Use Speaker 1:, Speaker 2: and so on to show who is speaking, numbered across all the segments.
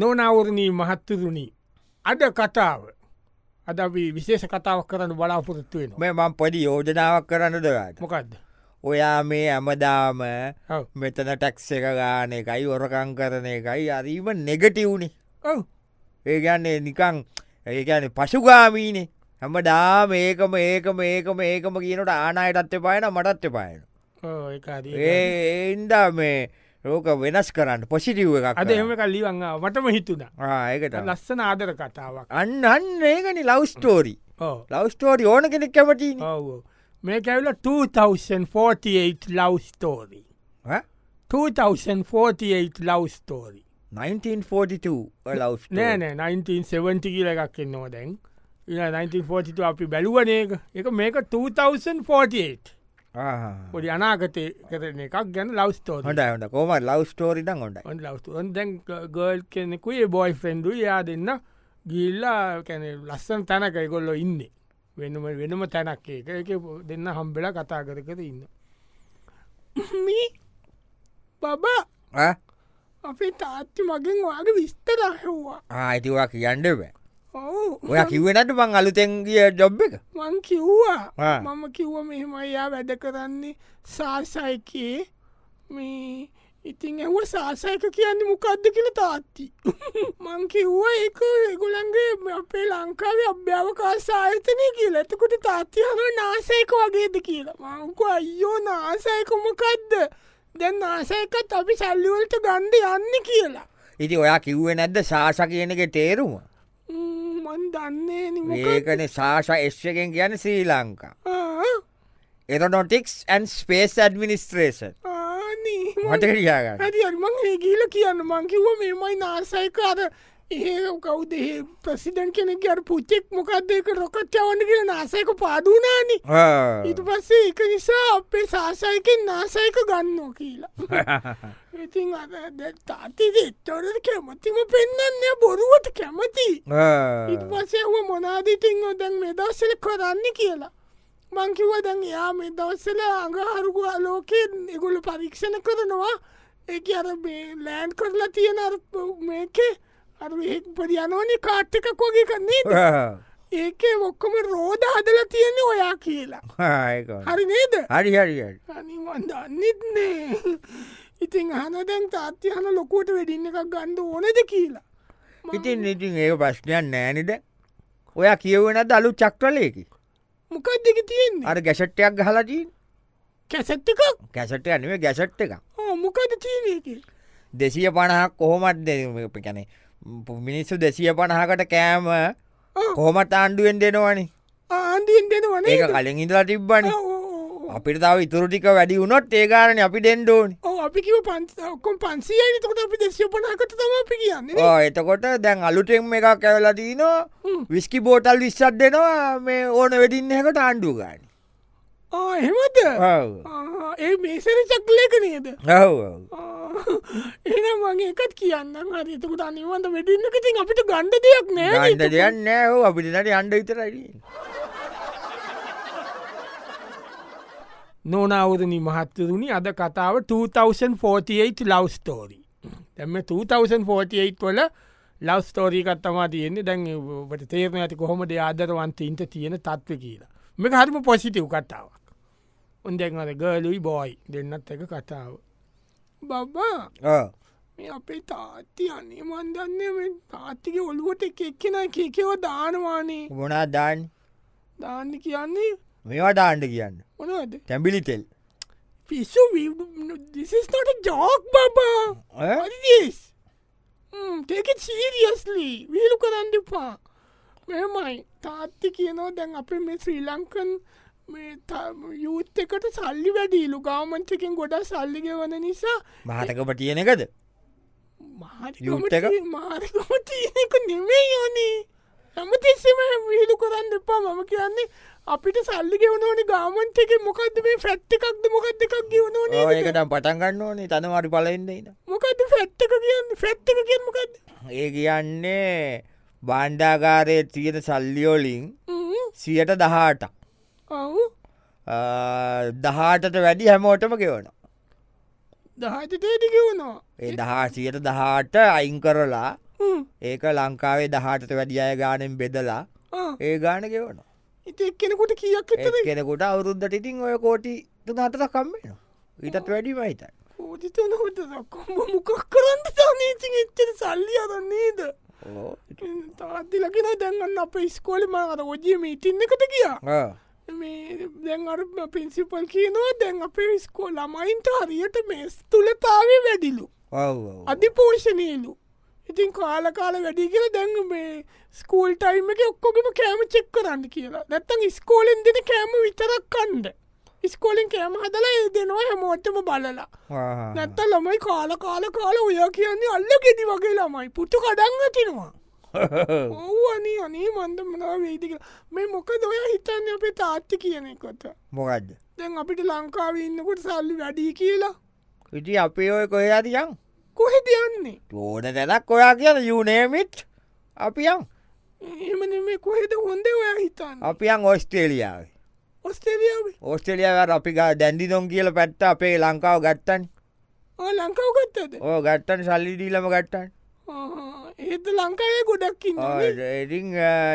Speaker 1: නොනවරණී මහත්තරුණී අද කතාව අද අපි විශේෂ කතාවක් කරන්න බලාපොරොත්තු වෙන
Speaker 2: මේ මං පොඩි යෝජනාවක් කරන්න දරට
Speaker 1: මොකක්ද
Speaker 2: ඔයා මේ ඇමදාම
Speaker 1: ඔව්.
Speaker 2: මෙතන ටැක්ස එක ගාන එකයි ඔරකං කරන එකයි අරීම නෙගටවුණේ
Speaker 1: ඔව්.
Speaker 2: ඒගන්නේ නිකං ඒගැන පසුගාමීනේ හැම ඩා මේකම ඒකම ඒකම ඒකම කියනට ආනායටත්ත පායන මටත්ත පායන
Speaker 1: ඔව්, ඒක හරි, ඒක හරි.
Speaker 2: ඒන්දා මේ රෝක වෙනස් කරන්න පොසිටිව් එකක්
Speaker 1: අද එම කල්ලිවන්න මටම හිතුනා
Speaker 2: ඒකට
Speaker 1: ලස්සන ආදර කතාවක්
Speaker 2: අන්න අන්න ඒකනි ලවස්ටෝරි
Speaker 1: ඕ
Speaker 2: ලවස්ටෝරි ඕන කෙනෙක් කැමටී
Speaker 1: ඔව මේ කැවිල 2048 ලවස්තෝරී 2048 ලවස්තෝරී
Speaker 2: 1942 ලවස්
Speaker 1: නෑනෑ 1970 කියල එකක් එන්නවා දැන් ඉතින් 1942 අපි බැලුවනේක එක මේක 2048 පොඩි අනාගතය කරන එකක් ගැන ලවස්තෝර
Speaker 2: හොඳ හොඳ කෝම ලවස්ටෝරි ඩ හොඩයි
Speaker 1: ඔන් ලවස්තුන් දැන් ගර්ල් කෙනෙකුේ බොයි ෆෙන්ඩු යා දෙන්න ගිල්ලා කැන ලස්සන් තැනක එකොල්ලො ඉන්න වෙනම වෙනම තැනක් ඒක එක දෙන්න හම්බෙලා කතා කර කර ඉන්න බබා අපේ තාත්්‍ය මගෙන් වගේ විස්තර ඇහවා
Speaker 2: ආයිතිවා කියන්නව
Speaker 1: ඔවු
Speaker 2: ඔය කිවෙනට මං අලුතැන්ගිය ජොබ් එක
Speaker 1: මං කිව්වා
Speaker 2: ආ.
Speaker 1: මම කිව්ව මෙහෙම එයා වැඩ කරන්නේ සාසයිකයේ මේ ඉතින් ඇව සාසයක කියන්න මොකක්ද කියල තාත්ති මං කිව්ව එක ගොළන්ගේ අපේ ලංකාව අභ්‍යාවකාසායතනය කියලා ඇතකොට තාත්තිහම නාසයක වගේද කියලා මංකු අයෝ නාසයකොමකක්ද දැන් නාසයකත් අපි සැල්ලිවලට ගණ්ඩ යන්න කියලා
Speaker 2: ඉති ඔයා කිව්ව නැද්ද සාස කියන එක තේරුම
Speaker 1: ම්ම්, මන් දන්නේ නිමක
Speaker 2: ඒකන සාස එශ්කෙන් කියන Sri Lanka aeronautics and space administration
Speaker 1: ආනේ
Speaker 2: මට කියාගන්න
Speaker 1: ඇතිමං ඒගීල කියන්න මංකිව මෙමයි නාසයිකාර ඒ කවද ප්‍රසිඩන් කෙනෙක් අර පුච්චෙක් මොකක්දක රොකච්චවන්න කියල නාසයක පාදුනානි ඊට පස්සේ එක නිසා අපේ සාසයකෙන් නාසයක ගන්නෝ කියලා ඉතින් අර දැන් තාත්ති දෙත්තවට කැමතිම පෙන්න්න බොරුවට කැමති ඉට පසේ හුව මොනාදීතිං දැන් මේ දවසල කරන්න කියලා මංකිව දැන් යා මේ දවස්සල අඟහරුගු අලෝකෙන් එගුල පරීක්ෂණ කරනවා එක අර මේ ලෑන්් කරලා තියෙන අර ප- මේකේ අර පරියනෝනි කාට්ටක කොගේ කන්නේ ඒක ඔක්කොම රෝධ හදල තියෙන ඔයා කියලා හරි නේද
Speaker 2: හරි හරි හරි
Speaker 1: අනිවන්දන්නෙත්නේ ඉතින් හන දැන් තාත්්‍ය හන ලොකුවට වැඩින්න එකක් ගණ්ඩ ඕනද කියලා මං-
Speaker 2: ඉතින් ඉතින් ඒ ප්‍රශ්නයන් නෑනිද ඔයා කියවෙනද අලු චක්්‍රලයකි
Speaker 1: මොකක් දෙක තියෙන්නේ
Speaker 2: අර ගැසට්ටයක් ගහලටී
Speaker 1: කැසැත්තකක්
Speaker 2: කැසට යනුවේ ගැසට් එක
Speaker 1: මොකද තියනයකි
Speaker 2: දෙසිය පණහක් කොහොමත් කැනෙ මිනිස්සු දෙසිය පණහකට කෑම කොහොමත් ආණ්ඩුවෙන් දෙනවනි
Speaker 1: ආන්දීන් දෙනවන
Speaker 2: ඒක කලින් ඉඳලා තිබ්බනි අපිට තාව ඉතුරටික වැඩි වුණොත් ඒගාරන අපි ඩෙන්ඩෝන් එතකොට දැන් අලුටෙම් එකක් ඇවලදී නො විස්කි බෝටල් විස්සත් දෙනවා මේ ඕන වෙඩින්න එකට ආණ්ඩුගාන
Speaker 1: හෙමද ආ, ඒ මේසර චක්ලයක නේද එන මගේ එකත් කියන්න හරිතකට අනිවන්ද වැඩින්න ඉතින් අපිට ගණ්ඩ දෙයක් නෑ
Speaker 2: ගන්ඩ දෙයන්න ඕ අපිට නට අන්ඩ විතරයි
Speaker 1: නොනවරණී මහත්තරුණි අද කතාව 2048 ලවස්තෝරී තැම 2048 වල ලවස්තෝරී කත්තමා තියෙන්නේ දැන්ට තේරණ ඇති කොහොම ආදරවන්තීන්ට තියෙන තත්ව කියලා මේක හරිම පොසිටව් කතාවක් උන්දැන්වද ගලුයි බෝයි දෙන්නත් එක කතාව බබා මේ අපේ තාත්ති අනේ මන්දන්න තාත්තික ඔළුවට එක එක්කෙන කේකව දානවානේ
Speaker 2: ගොනා දාන්
Speaker 1: දාන්න කියන්නේ
Speaker 2: මේවා දාණ්ඩ කියන්න
Speaker 1: මොනවද
Speaker 2: තැම්බිලි තෙල්
Speaker 1: පිස්සු දිසිස්නොට ජෝක් බබා
Speaker 2: ඔය?
Speaker 1: Yes. Mm, take it seriously. විහිලු කරන්න එපා. මෙමයි තාත්ති කියනවා දැන් අපේ මේ ශ්‍රී ලංකන් මේ යුත් එකට සල්ලි වැඩීලු ගාමන්ටකින් ගොඩා සල්ලිග වන නිසා
Speaker 2: මහතකම තියෙන එකද යුත් එක?
Speaker 1: මාරකම තියනෙක නෙමේ යනේ හැම තිස්සම විහිලු කරන්න එපා මම කියන්නේ අපිට සල්ලි ගෙවනෝනි ගාමන්ට එක මොකක්ද මේ ෆැට් එකක්ද මොකක්ද එකක් ගෙවනෝනේ
Speaker 2: ඒකට පටන්ගන්න ඕනේ තනවාරි පලෙන්දන්න
Speaker 1: මොකක්ද ෆැට් එක කියන්න ෆැට් එක කිය මොකක්ද
Speaker 2: ඒ කියන්නේ බණ්ඩාගාරය තියෙන සල්ලියෝලින් සියට දහට
Speaker 1: ඔව්
Speaker 2: දහටට වැඩි හැමෝටම ගෙවන
Speaker 1: දහතටේටික වුණා
Speaker 2: ඒ දහා සියට දහට අයින් කරලා ඒක ලංකාවේ දහටට වැඩිය අය ගානෙන් බෙදලා ඒ ගාන ගෙවන
Speaker 1: ඉති කෙනෙකුට කියක් එතර
Speaker 2: කෙනෙකුට අවුරුද්ධට ඉතින් ඔය කෝටි තුනාටට කම්මෙන ඊටත් වැඩිම හිතයි
Speaker 1: පෝජිතන හොට දක්කොම මොකක් කරන්න තනීචි එච්චර සල්ලි අදන්නේද
Speaker 2: ඕ.
Speaker 1: තාත්ති ලකෙන දැන්ගන්න අප ඉස්කෝලි මර ඔජිය මීටින්න එකට කියා
Speaker 2: ආ.
Speaker 1: මේ දැන් අර පින්සිපල් කියනවා දැන් අපේ ස්කෝ ළමයින්ට හරියට මේස් තුළතාවේ වැඩිලු
Speaker 2: ඔව් ඔව්.
Speaker 1: අධිපෝෂණයලු ඉතින් කාලකාල වැඩි කියල දැන් මේ ස්කූල් ටයිම එක ඔක්කොගම කෑම චෙක් කරන්න කියලා නැත්තං ස්කෝලෙන් දෙන කෑම විතරක් කන්ඩ ස්කෝලෙන් කෑම හදලා ඒ දෙනවා හැමෝටම බලලා
Speaker 2: ආහා.
Speaker 1: නැත්ත ළමයි කාල කාල කාල ඔය කියන්නේ අල්ල ගෙඩි වගේ ළමයි පුට්ටු කඩන්න තිනවා ඔව් අනේ අනේ මන්ද මනා වේදික මේ මොක දොය හිතන්න අපේ තාත්්චි කියන කොට
Speaker 2: මොකක්ද
Speaker 1: දැන් අපිට ලංකාව ඉන්නකොට සල්ලි වැඩී කියලා
Speaker 2: ඉටි අපි ඔය කොහයාතියන්
Speaker 1: කොහෙද යන්නේ
Speaker 2: ඕන තැනක් ඔයා කියන යුනේමිට් අපියන්
Speaker 1: එමන මේ කොහෙද හොඳේ ඔය හිතන්න
Speaker 2: අපියන් ඔස්ට්‍රේලියාව
Speaker 1: ඔස්ටේරියාවේ
Speaker 2: ඔස්ට්‍රලියාව අපි ගා දැන්ඩි දොන් කියල පැත්ත අපේ ලංකාව ගත්තන්
Speaker 1: ආ, ලංකාව ගත්තද
Speaker 2: ඕ ගත්තන් සල්ලිඩීලම ගත්තන්
Speaker 1: ඒත් ලංකාවේ ගොඩක්කින්න
Speaker 2: ඉරිං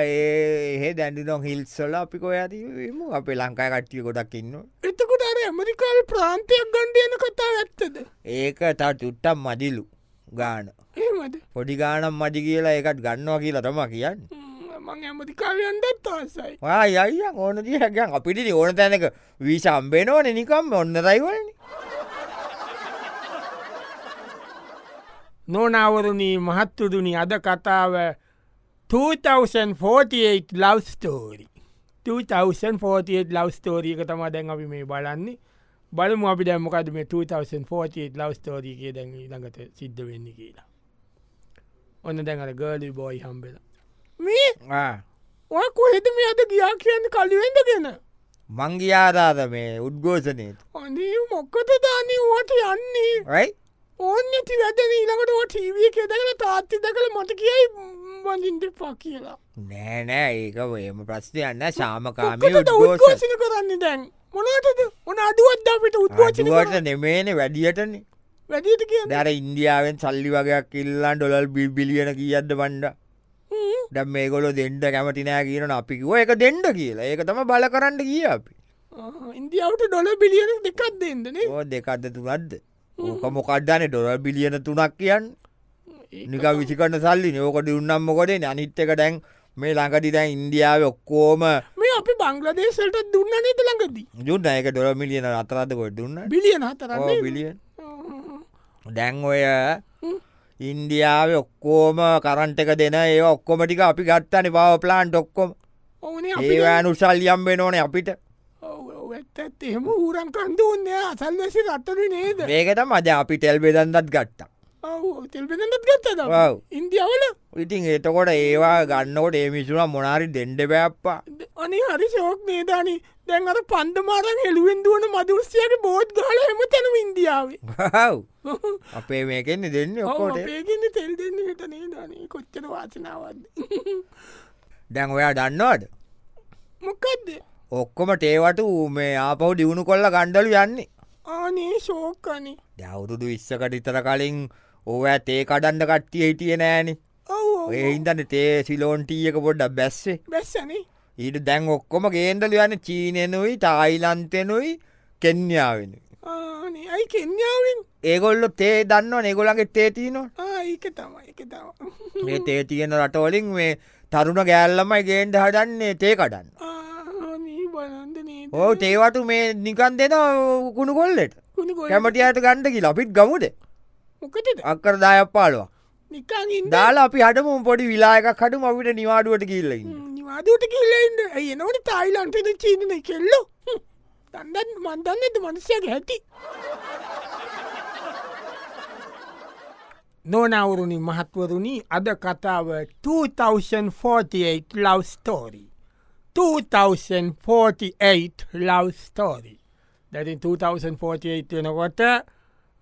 Speaker 2: ඒහෙ දැඩි දොන් හිල්සොල අපි කොයාතිීම අපේ ලංකාය කට්ටිය ගොඩක් ඉන්න
Speaker 1: එතකොට අර ඇමරිකාව ප්‍රාන්තයක් ගණ්ඩයන කතා ඇත්තද
Speaker 2: ඒක තා චුට්ටම් මදිලු ගාන
Speaker 1: ඒමද
Speaker 2: පොඩි ගානම් මජි කියලා ඒකත් ගන්නවා කියලා තම කියන්න
Speaker 1: මං ඇමරිකාවයන්ඩත් ආසයි
Speaker 2: යයි ඕන දහකන් අපිට ඕන තැනක වීශම්බේනෝ නනිකම් ඔන්න දයිවලන
Speaker 1: නොනවරණී මහත්තුරුණි අද කතාව 2048 ලවස්තෝරි 2048 ලවස්තෝරීක තමා දැන් අපි මේ බලන්නේ බලමු අපි දැම්මකද මේ 2048 ලවස්තෝරීකය දැන් ළඟට සිද්ධ වෙන්න කියලා ඔන්න දැඟට ගලි බෝයි හම්බෙල මේ ඔය කොහෙද මේ අද ගියා කියන්න කලිවෙඩගෙන
Speaker 2: මංගියාදාද මේ උද්ගෝෂනයතු
Speaker 1: අනේ මොක්කත දානී ඕට යන්නේ
Speaker 2: රයි
Speaker 1: ඕන්න ඇති වැදන ඊළඟට ඕ ටීවිය කෙදකල තාත්ති දකළ මට කියයි වඳින්ට පා කියලා
Speaker 2: නෑනෑ ඒක එම ප්‍රශ්තියන්න සාමකාමී
Speaker 1: මොකටද
Speaker 2: උද්ගෝෂ
Speaker 1: උද්ඝෝෂණ කරන්නේ දැන් මොනටද ඔන අඩුවත් අපිට උද්ඝෝෂණ
Speaker 2: අඩුවට
Speaker 1: කරන්න.
Speaker 2: නෙමේන වැඩියටන
Speaker 1: වැඩියට කියන්න
Speaker 2: දර ඉන්දියාවෙන් සල්ලි වගේයක් ඉල්ලන් ඩොලල් බිල් බිලියන කියද්ද බණ්ඩ
Speaker 1: හ්ම්.
Speaker 2: ඩම් මේගොලො දෙන්ඩ කැමතිනෑ කියනන අපිකිව එක දෙන්ඩ කියලා ඒක තම බල කරන්න කිය අපි
Speaker 1: ආහා, ඉන්දියාවට ඩොල බිලියන දෙකක් දෙන්නන
Speaker 2: ඕ දෙකක්ද තුනත්ද ඕක මොකක්දන ඩොලල් බිලියන තුනක් කියන්න නික විසිකන්න සල්ලි නෝකොට උන්නම් මොකොටේ අනිත්තක ඩැන් මේ ළඟටි දැන් ඉන්දියාව ඔක්කෝම
Speaker 1: මේ අපි බංගලදේශලට දුන්න නත ළඟදී
Speaker 2: ජුන් අයක ඩොල මිලියන අතරද කොට දුන්න
Speaker 1: බිලියන හතරන්නේ
Speaker 2: බිලියන් දැන් ඔය ඉන්දියාව ඔක්කෝම කරන්ට එක දෙන ඒ ඔක්කොමටික අපි ගත්තන බව ප්ලාන්් ඔක්කොම
Speaker 1: ඕනේ
Speaker 2: ඒවෑනු සල්ලියම් වෙන ඕන අපිට
Speaker 1: ඇත් ඇත් එහෙම ඌරන් කන්ද ඔන්නෑ අසල් වැසි රත්තර නේද
Speaker 2: ඒකට මද අපි ටෙල් බෙදන්දත් ගත්තා
Speaker 1: තෙල්පෙනත් ගත්තද
Speaker 2: ඔව්.
Speaker 1: ඉන්දියාවල
Speaker 2: ඉතින් ඒතකොට ඒවා ගන්නකොට ඒ මිසුන මොනාරි දෙන්ඩ බෑප්පා
Speaker 1: අනේ හරි ශෝක් නේදානී දැන් අර පන්දමාරන් හෙළුවෙන් දුවන මදුෘෂ්‍යයට බෝද් ගල හෙම තැනම ඉන්දියාවේ
Speaker 2: හව් අපේ මේකෙන්නේ දෙන්න ඔක්කොට
Speaker 1: ඒගන්න තෙල් දෙන්න හිටනේ දනේ කොච්චර වාසනාවද
Speaker 2: දැන් ඔයා දන්නවාට
Speaker 1: මොකක්ද
Speaker 2: ඔක්කොම ටේවට ඌ මේ ආපහු දියුණු කොල්ල ගණ්ඩලු යන්නේ
Speaker 1: ආනේ ශෝකනේ
Speaker 2: දැවුරුදු විස්සකට ඉතර කලින් ඕව තේ කඩන්න කට්ටිය හිටිය නෑනේ
Speaker 1: ඔව
Speaker 2: ඒහින්දන්න තේ සිලෝන්ටීයක පොඩ්ඩක් බැස්සේ
Speaker 1: බැස්සනේ
Speaker 2: ඊට දැන් ඔක්කොම ගේන්ඩල යන්න චීනයනුයි තායිලන්තෙනුයි කෙන්්ඥාවෙන.
Speaker 1: ආනේ අයි කෙන්ඥාවෙන්
Speaker 2: ඒගොල්ලො තේ දන්න නෙගොලගේ තේතිනවා
Speaker 1: ආඒක තමයි එක තව
Speaker 2: මේ තේ තියෙන රටවලින් මේ තරුණ ගෑල්ලමයි ගේන්ඩ හඩන්නේ තේ කඩන්න.
Speaker 1: ආනී බලන්ද නේ
Speaker 2: ඕ තේවටු මේ නිකන් දෙෙන කුණු කොල්ලෙට
Speaker 1: කුණ ගොල
Speaker 2: කැමටියට ගණ්ඩකි ලපිත් ගමුද
Speaker 1: මොකටද
Speaker 2: අක්කර දායප්පාලවා.
Speaker 1: නිකං ඉන්න
Speaker 2: දාලා අපි හටමුම් පොඩි විලායක කටු මවිට නිවාඩුවට කියල්ලඉන්න.
Speaker 1: නිවාදට කියලෙන්ට ඇය නොට තායිලන්ටද චීනන කෙල්ලො තන්නත් මන්දන්නද මනුෂ්‍යක හැටි නොනවුරුණි මහත්වරුණි අද කතාව 2048 ලවස්තෝරී 2048 ලවස්තෝරී දැතින් 2048 වෙනකොට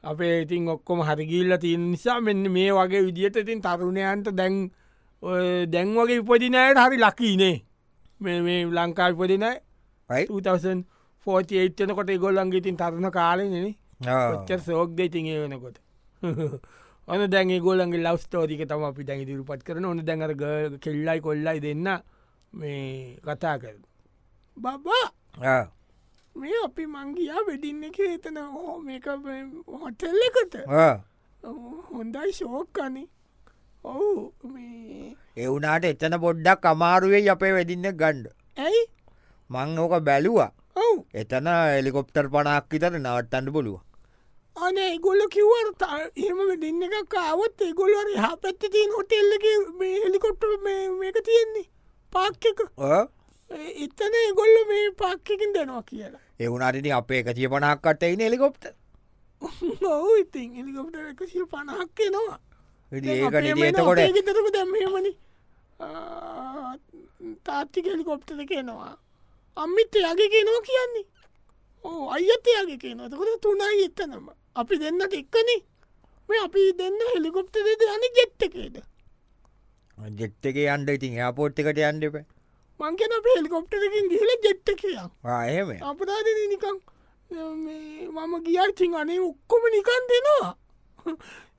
Speaker 1: අපේ ඉතින් ඔක්කොම හරිගිල්ල තියන් නිසා මෙන්න මේ වගේ විදිහට ඉතින් තරුණයන්ට දැන් ඔය දැන් වගේ ඉපදිනයට හරි ලකිනේ මේ මේ ලංකා ඉපදින
Speaker 2: යි
Speaker 1: 2048
Speaker 2: Ah,
Speaker 1: වෙනකොට ගොල්ලන්ගේ ඉතින් තරුණ කාලෙනනේ ඔච්චර සෝක්ද ඉතින් ඒ වෙනකොට ඕන දැන් ගොලන්ගේ ලව් තෝරික තම අපි දැන් දිරු පත් කරන ඕන දැඟර කෙල්ලයි කොල්ලයි දෙන්න මේ කතා කර බබා
Speaker 2: ah,
Speaker 1: මේ අපි මංගියා වෙඩින්න එක එතන හෝ මේක හොටෙල්ල එකට
Speaker 2: ah.
Speaker 1: හොඳයි ශෝක්කනේ ඔවු මේ
Speaker 2: එවුනාට එතන පොඩ්ඩක් අමාරුවේ අපේ වෙදින්න ගණ්ඩ
Speaker 1: ඇයි
Speaker 2: මං ඕක බැලුවා
Speaker 1: ඔවු
Speaker 2: එතන එලිකොප්ටර් පනක් විතර නවත්තන්න පුළුව
Speaker 1: අනේ ගොල්ල කිවර් එම දෙන්න එක කාවත් ඒගොල්වර හා පැත්ත තියෙන් හොටෙල්ලක හෙලිකොට්ට මේක තියෙන්නේ පාක්්‍යක එතන ගොල්ල මේ පාක්කින් දෙනවා කියලා
Speaker 2: එවුනාට අපේ එක තිය පනහක්කට එයින එලිකොප්ට
Speaker 1: ඔවු ඉතින් එලිකොප්ට එක සිල් පණහක් එනවා
Speaker 2: ඒකටකොට
Speaker 1: ගෙතරම දැම්මමන තාත්තික හෙලිකොප්ටද කියනවා අම්මිත් එයාගේ කියනවා කියන්නේ ඕ අයත් එයාගේ කියනතකොට තුනයි එත්තනම අපි දෙන්නට එක්කනේ මේ අපි දෙන්න හෙලිකොප්ට දෙද යන ජෙට්ටකේද
Speaker 2: ජෙට්ටක අන්ඩ ඉතින් යාපෝට් එකට අන්ඩප
Speaker 1: මංකන අප හෙලිකොප්ටකින් ගිහිල ජෙට්ටකයා
Speaker 2: ආයම
Speaker 1: අපදාදන නිකං මේ මම ගියර්චින් අනේ ඔක්කොම නිකන් දෙනවා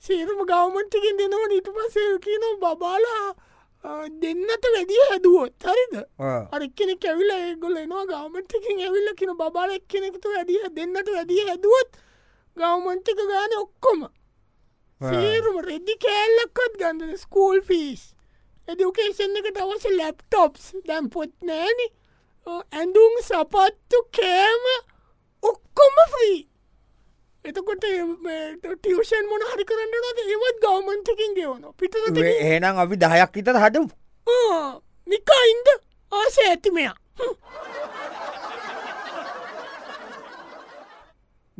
Speaker 1: සේරම ගවමන්ටිකින් දෙනවා නිට පසේ කියන බබාලා දෙන්නට වැඩිය හැදුවොත් හරිද අරක්කෙන කැවිල ඒගොල එනවා ගවමන්ටිකින් ඇවිල්ල කියන බාල එක්කෙනෙකුතු වැඩිය දෙන්නට වැඩිය හැදුවොත් ගවමන්ටික ගාන ඔක්කොම සේරුම රෙද්දි කෑල්ලක්කත් ගන්ධන ස්කූල් ෆිස් එඩියුකේෂන් එකට අවස ලැප්ටොප්ස් දැම් පොත් නෑනි ඇඳුම් සපත්තු කෑම ඔක්කොම ්‍රී එතකොට ටියෂන් මොන හරි කරන්න ද ඒවත් ගවමන්තකින් ගෙවන පිට
Speaker 2: ඒනම් අපි දහයක් ඉතර හටම්
Speaker 1: නිකයින්ද ආස ඇතිමයා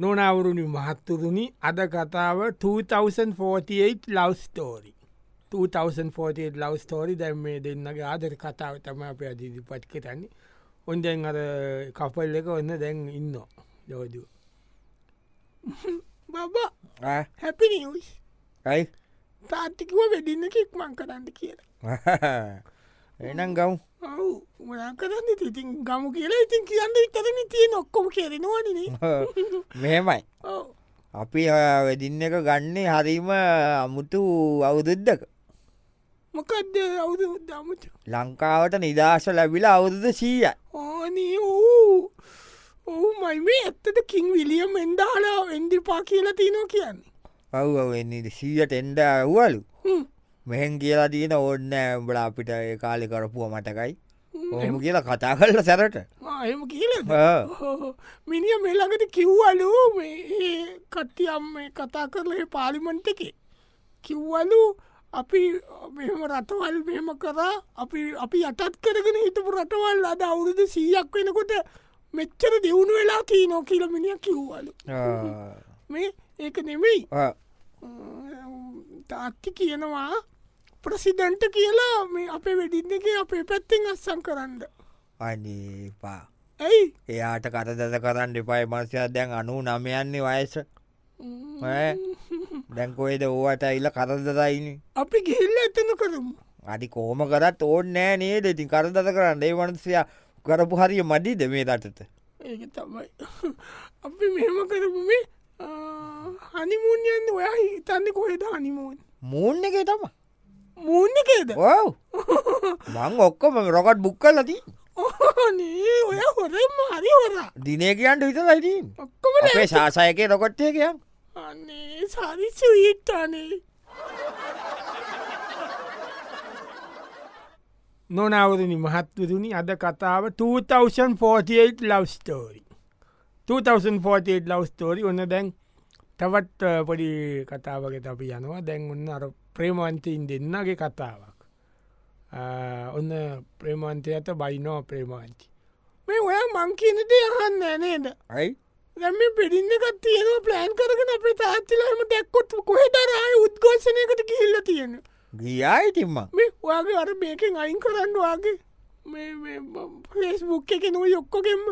Speaker 1: නොනවුරුණි මහත්තුරුණි අද කතාව 2048 ලවස්තෝරි 2048 ලවස්තෝරි දැම් මේ දෙන්නගේ ආදර කතාව තම අප අදිදිපට් කරන්නේ ඔොන්දැන් අර කපල් එක ඔන්න දැන් ඉන්න යෝදුව බබා හැපි නිියස්
Speaker 2: ඇයි
Speaker 1: තාත්තිකව වැඩින්න කික්මං කරන්න කියලා
Speaker 2: එනම් ගව්
Speaker 1: ඔවු මොනා කරන්න ඉතින් ගම කියලා ඉතින් කියන්න ඉතරන තිය නොක්කොම කෙරෙනවානනේ
Speaker 2: මෙහෙමයි
Speaker 1: ඔව
Speaker 2: අපි වෙදින්න එක ගන්නේ හරිම අමුතු අවුදුද්දක
Speaker 1: මොකක්ද අවුද දමච
Speaker 2: ලංකාවට නිදහස ලැබිලා අවුරුද සීය
Speaker 1: ඕනේ ඕ ඕ මයි මේ ඇත්තට කින් විලියම් එන්ඩාලා එන්ඩිපා කියලා තියනෝ කියන්නේ
Speaker 2: ඔවවෙන්නේ සීයට එන්ඩ ඇව්වලු
Speaker 1: හ්ම්.
Speaker 2: මෙහෙන් කියලා දීන ඔන්න බලා අපිට ඒ කාලෙ කරපුුව මටකයි ඔහම කියලා කතා කරල සැරට
Speaker 1: ආ, එහෙම කියලද
Speaker 2: ආ.
Speaker 1: මිනිිය මෙළඟට කිව්වලු මේ ඒ කට්ටියම් මේ කතා කරල පාලිමන්ට එක කිව්වලු අපි මෙම රටවල් මෙම කරා අපි අපි යටත් කරගෙන හිටපු රටවල් අද අවුරුද සීයක් වෙනකොට මෙච්චර දෙවුණු වෙලා තිී නෝ කියලමිනිිය කිව්වලු මේ ඒක නෙමෙයි තාත්ති කියනවා ප්‍රසිඩන්ට කියලා මේ අපේ වැඩින්න එක අපේ පැත්තෙන් අස්සං කරන්න
Speaker 2: අනිපා
Speaker 1: ඇයි
Speaker 2: එයාට කතදත කරන්න එපයි මන්සයා දැන් අනු නමයන්නේ වයස ඈ? දැන්කොයිද ඕවට ඉල්ල කරදතයින
Speaker 1: අපි ගිහිල්ල එතන කරමු
Speaker 2: අඩි කෝම කරත් ඕන්න නෑ නේද ඉතින් කරදත කරන්න ඒ වනසයා කරපු හරිය මඩිද මේ රටට
Speaker 1: ඒක තමයි අපි මෙහෙම කරපු මේ හනිමුන් යන්න ඔයා හිතන්න කොහෙද හනිමූන්
Speaker 2: මූන්න එක තම
Speaker 1: මූන්නකේද
Speaker 2: ඔව් මං ඔක්කොම රොකට් බුක් කලති
Speaker 1: ඕනේ ඔය හොරෙම හරි හොරා
Speaker 2: දිනයකයන්ට විත ලයිතින්
Speaker 1: ඔක්කොම
Speaker 2: අපේ ශාසයකය රොකට්ටයකයන්
Speaker 1: අන්නේ සරි සීට්ටානේ නොනවරනි මහත්වරුණි අද කතාව 2048 ලවස්තෝරි 2048 ලවස්තෝරි ඔන්න දැන් තවත් අ, පොඩි කතාවකට අපි යනවා දැන් ඔන්න අර ප්‍රේමන්තයින් දෙන්නගේ කතාවක් අ, ඔන්න ප්‍රේමන්තයට බයිනෝ ප්‍රේමාන්ති මේ ඔය මංකිනට යහන්න නේද
Speaker 2: ඇයි
Speaker 1: දැම පිරිින්නකත් තියෙනවා ප්ලෑන් කරගන අපේ තාත්තිලාම දැක්කොත් කොහෙදරයි උද්ගෝෂණයකට කිහිල්ල තියෙන
Speaker 2: ගියායිතිම්ම
Speaker 1: මේ වගේ අර මේකෙන් අයින් කරන්න වගේ මේ පලේස්බුක් එක නොව යොක්කොකෙම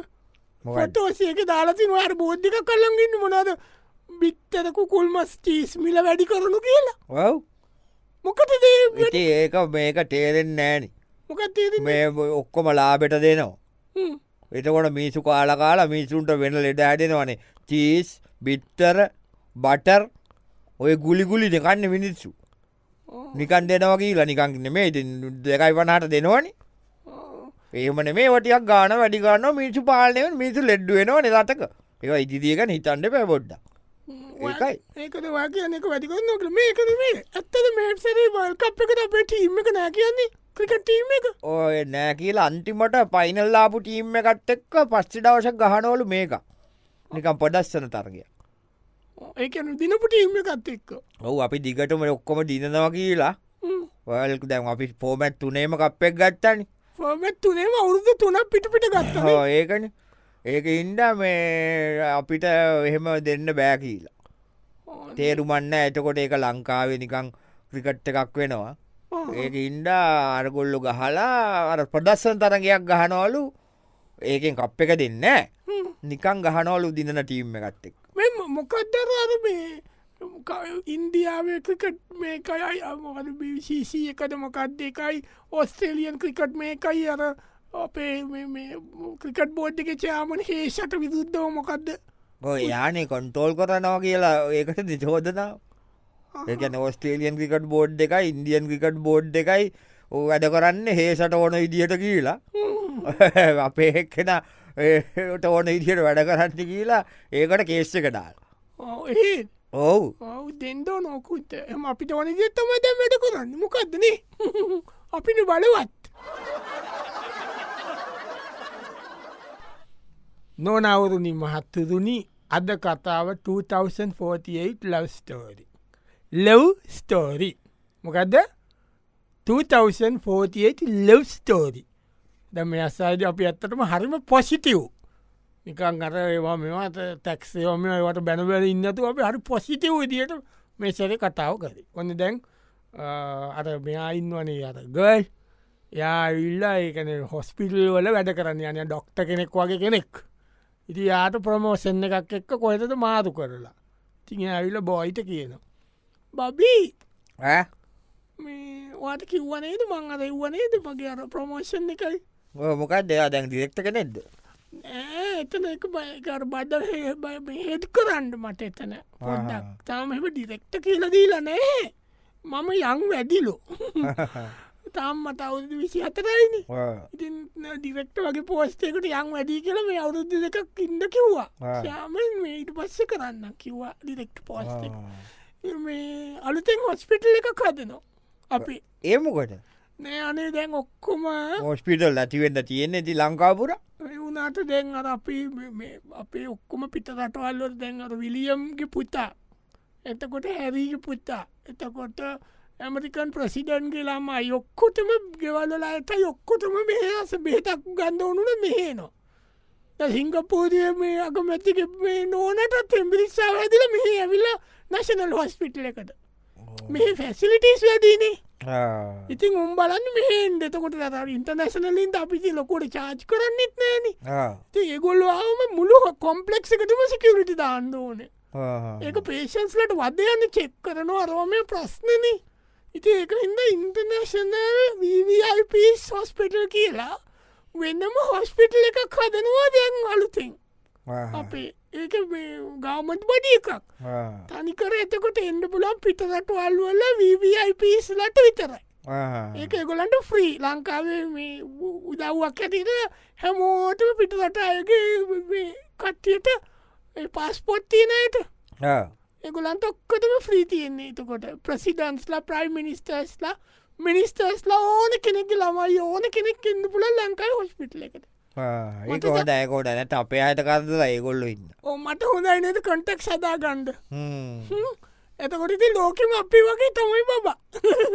Speaker 1: පොටෝසියක දාලතින අර බෝද්ධික කල්ලගන්න මොනාද බිත්තරකු කුල්මස් චීස් මිල වැඩි කරනු කියලා
Speaker 2: ඔව්
Speaker 1: මොකට දේ
Speaker 2: ඉති ඒක මේක තේරෙන් නෑන
Speaker 1: මොකත් තේරෙන්නේ?
Speaker 2: මේ ඔක්කොම ලාබෙට දෙනවා
Speaker 1: හ්ම්.
Speaker 2: එතකොට මිසු කාලකාලා මිසුන්ට වෙන ලෙඩ ඇඩෙනවනේ චීස් බිත්තර බටර් ඔය ගුලිගුලි දෙකන්න මිනිස්සු නිකන් දෙනවා කියලා නිකන් නෙමේ ඉතින් දෙකයි වනහට දෙනවනේ ඒමන මේ වටයක් ගාන වැඩි ගන්න මිනිසු පාලනය මිනිසු ලෙඩ්ඩුවෙනවා නිතක ඒ ඉදිදියකන හිතන්ඩ පැබොඩ්ඩ ඒකයි
Speaker 1: ඒකද වාගේයනෙක වැඩිකන්න කළ මේකද මේ ඇත්තද මේසරේ වල්කප් එකට අපේ ටීම් එක නෑ කියන්නේ ක්‍රිකට ටීම් එක
Speaker 2: ඔය නෑ කියලා අන්තිමට පයිනල්ලාපු ටීම් එකත් එක්ක පස්සි දවශක් ගහනවලු මේක නිකම් පොඩස්සන තර්ගය
Speaker 1: ඒකන දිනපු ටීම් එකත් එක්ක
Speaker 2: ඔහු අපි දිගටම ඔක්කොම දිනනවා කියලා ඔයල්ක දැන් අපි පෝමැට් තුනේම කප්පෙක් ගත්තනි
Speaker 1: ෆෝමත් තුනේම අවුරුදු තුනක් පිට පිට ගත්ත
Speaker 2: ඒකන ඒක ඉන්ඩ මේ අපිට එහෙම දෙන්න බෑ කියලා තේරුමන්න ඇතකොට ඒක ලංකාවේ නිකං ක්‍රිකට් එකක් වෙනවා ඒක ඉන්ඩ අරගොල්ලු ගහලා අර ප්‍රදස්සන් තරගයක් ගහනවලු ඒකෙන් කප් එක දෙන්න නිකං ගහනවලු දිනන ටීම් එකත්තෙක්
Speaker 1: මෙ මොකක්දර අර මේ ක- ඉන්දියාවේ ක්‍රිකට් මේකයයි අමකද බිවිශීෂී එකද මොකක්ද එකයි ඔස්ට්‍රේලියන් ක්‍රිකට් මේකයි අර අපේ මේ- මේ ක්‍රිකට් බෝඩ් එක චයාමන හේෂට විදුද්ධව මොකක්ද
Speaker 2: යානේ කොන්ටෝල් කරනවා කියලා ඒකට දිචෝදනාව ඒකන ඔස්ට්‍රේලියන් ක්‍රිකට් බෝඩ් එක ඉන්දියන් ක්‍රිකට් බෝඩ් එකයි ඌ වැඩ කරන්න හේසට ඕන ඉදිහට කියලා අපේ එක්කෙන ඒට ඕන ඉදිහට වැඩ කරන්න කියලා ඒකට කේශ්ක ඩාල්
Speaker 1: ඒ
Speaker 2: ඔවු
Speaker 1: ඔවු දෙන්ඩෝ නොකුත් එම අපිට වන දෙත්තම දැ වැඩ කරන්න මොකක්දනේ අපිට බලවත් නොනවුරුණි මහත්තරුණි අද කතාව 2048 ලව් ස්ටෝරි ලව් ස්ටෝරි මොකදද 2048 ලව් ස්ටෝරි දම අස්සාද අපි ඇත්තටම හරිම පොසිටව් නිකන් අර ඒවා මෙවාට තැක්සේෝම ඒවට බැනවැල ඉන්නතු අප හරි පොසිටව් විදියට මේසර කතාව කරේ ඔන්න දැන් අ, අර මෙයායින්වනේ අර ගල් යාවිල්ලා ඒකන හොස්පිටල් වල වැඩ කරන්න යන ඩොක්ට කෙනෙක් වගේ කෙනෙක් ඉති යාට ප්‍රමෝෂන් එකක් එක්ක කොහෙතද මාතු කරලා තිං ඇවිල්ල බොයිට කියනවා බබී
Speaker 2: ඈ?
Speaker 1: මේ වාට කිව්වනේද මං අද වනේද මගේ අර ප්‍රමෝෂන් එකයි
Speaker 2: ඔය මොකක් දෙයා දැන් දිරෙක්ට කෙනෙක්ද
Speaker 1: නෑ, එතන එක බයකර බද හෙත් කරන්න මට එතන පොඩක් තාම එම ඩිරෙක්ට කියලදීල නෑ මම යං වැඩිලු තාම් මට අවුදු විසි අතරයිනි
Speaker 2: ඔය.
Speaker 1: ඉතින් ඩිරෙක්ට වගේ පෝස්ටේකට යං වැඩී කියල මේ අවුරුද්ධ දෙකක් ඉන්න කිව්වා
Speaker 2: ආ.
Speaker 1: යාමෙන් මේට පස්ස කරන්න කිව්වා ඩිරෙක්ට පෝස්ට මේ අලුතෙන් හොස්පිටල් එක කදනවා අපි
Speaker 2: ඒමකොට
Speaker 1: නෑ අනේ දැන් ඔක්කොම
Speaker 2: හෝස්පිටල් ඇතිවෙන්න තියෙන්නේ ති ලංකාපුර
Speaker 1: වුණට දැන් අර අපි මේ- මේ අපේ ඔක්කොම පිට රටවල්ලොට දැන් අර විලියම්ගේ පුතා එතකොට හැරීග පුතා එතකොට ඇමරිකන් ප්‍රසිඩන්ගේ ලාමා යොක්කොටම ගෙවල්ලලාට යොක්කොටම මෙහස බේතක් ගන්ධ ඕනුන මෙහේනවා දැන් සිංගපූරිය මේ අගමැතික මේ නෝනට තෙම්බිරිස්සා ඇදිල මෙහි ඇවිල්ල නැශනල් හොස්පිටල එකට මේ ෆැසිලිටිස් වැඩීනේ ඉතින් උම්බලන් මෙහෙන් දෙතකොට තර ඉන්ටර්නශනලින්ද අපිති ලොකොට චාච් කරන්නෙත් නෑන ති ඒගොල්වාම මුළු කොම්පලෙක්සිකටම සිකියවිටි දාන්න ඕන ඒක පේෂන්ස්ලට වදයන්න චෙක් කරනවා රෝමය ප්‍රශ්නන ඉති ඒක හින්ද ඉන්ටර්නශනල් වIP හොස්පිටල් කියලා වෙන්නම හොස්පිටල් එකක් හදනවා දැන් අලුතින් අපේ ඒක ගාමට් බඩිය එකක් තනිකර එතකොට එන්න පුලන් පිටරට අල්ුවල්ල වIP ලට විතරයි ඒක ගොලන්ට ෆ්‍රී ලංකාවේ මේ උ- උදව්වක් ඇතිට හැමෝටම පිටරට අයගේ කට්ටියට පස්පොට් තියනයට එගොලන්ට ඔක්කතම ෆ්‍රී තියෙන්නේ එතකොට ප්‍රසිඩන්ස්ලා ප්‍රයිම් මිනිස්ටර්ස්ලා මිනිස්ටර්ස්ලා ඕන කෙනෙක් ළමයි ඕන කෙනෙක් ඉන්න පුල ලංකායි හොස්පිටල එකට
Speaker 2: ඒක හොඳ ඇකෝට නැට අපේ අයට කරදලා ඒගොල්ලු ඉන්න
Speaker 1: ඕ මට හොඳයි නද කටක් සදා ගණ්ඩ
Speaker 2: හ්ම්.
Speaker 1: එතකොටති ලෝකෙම අපි වගේ තමයි බබා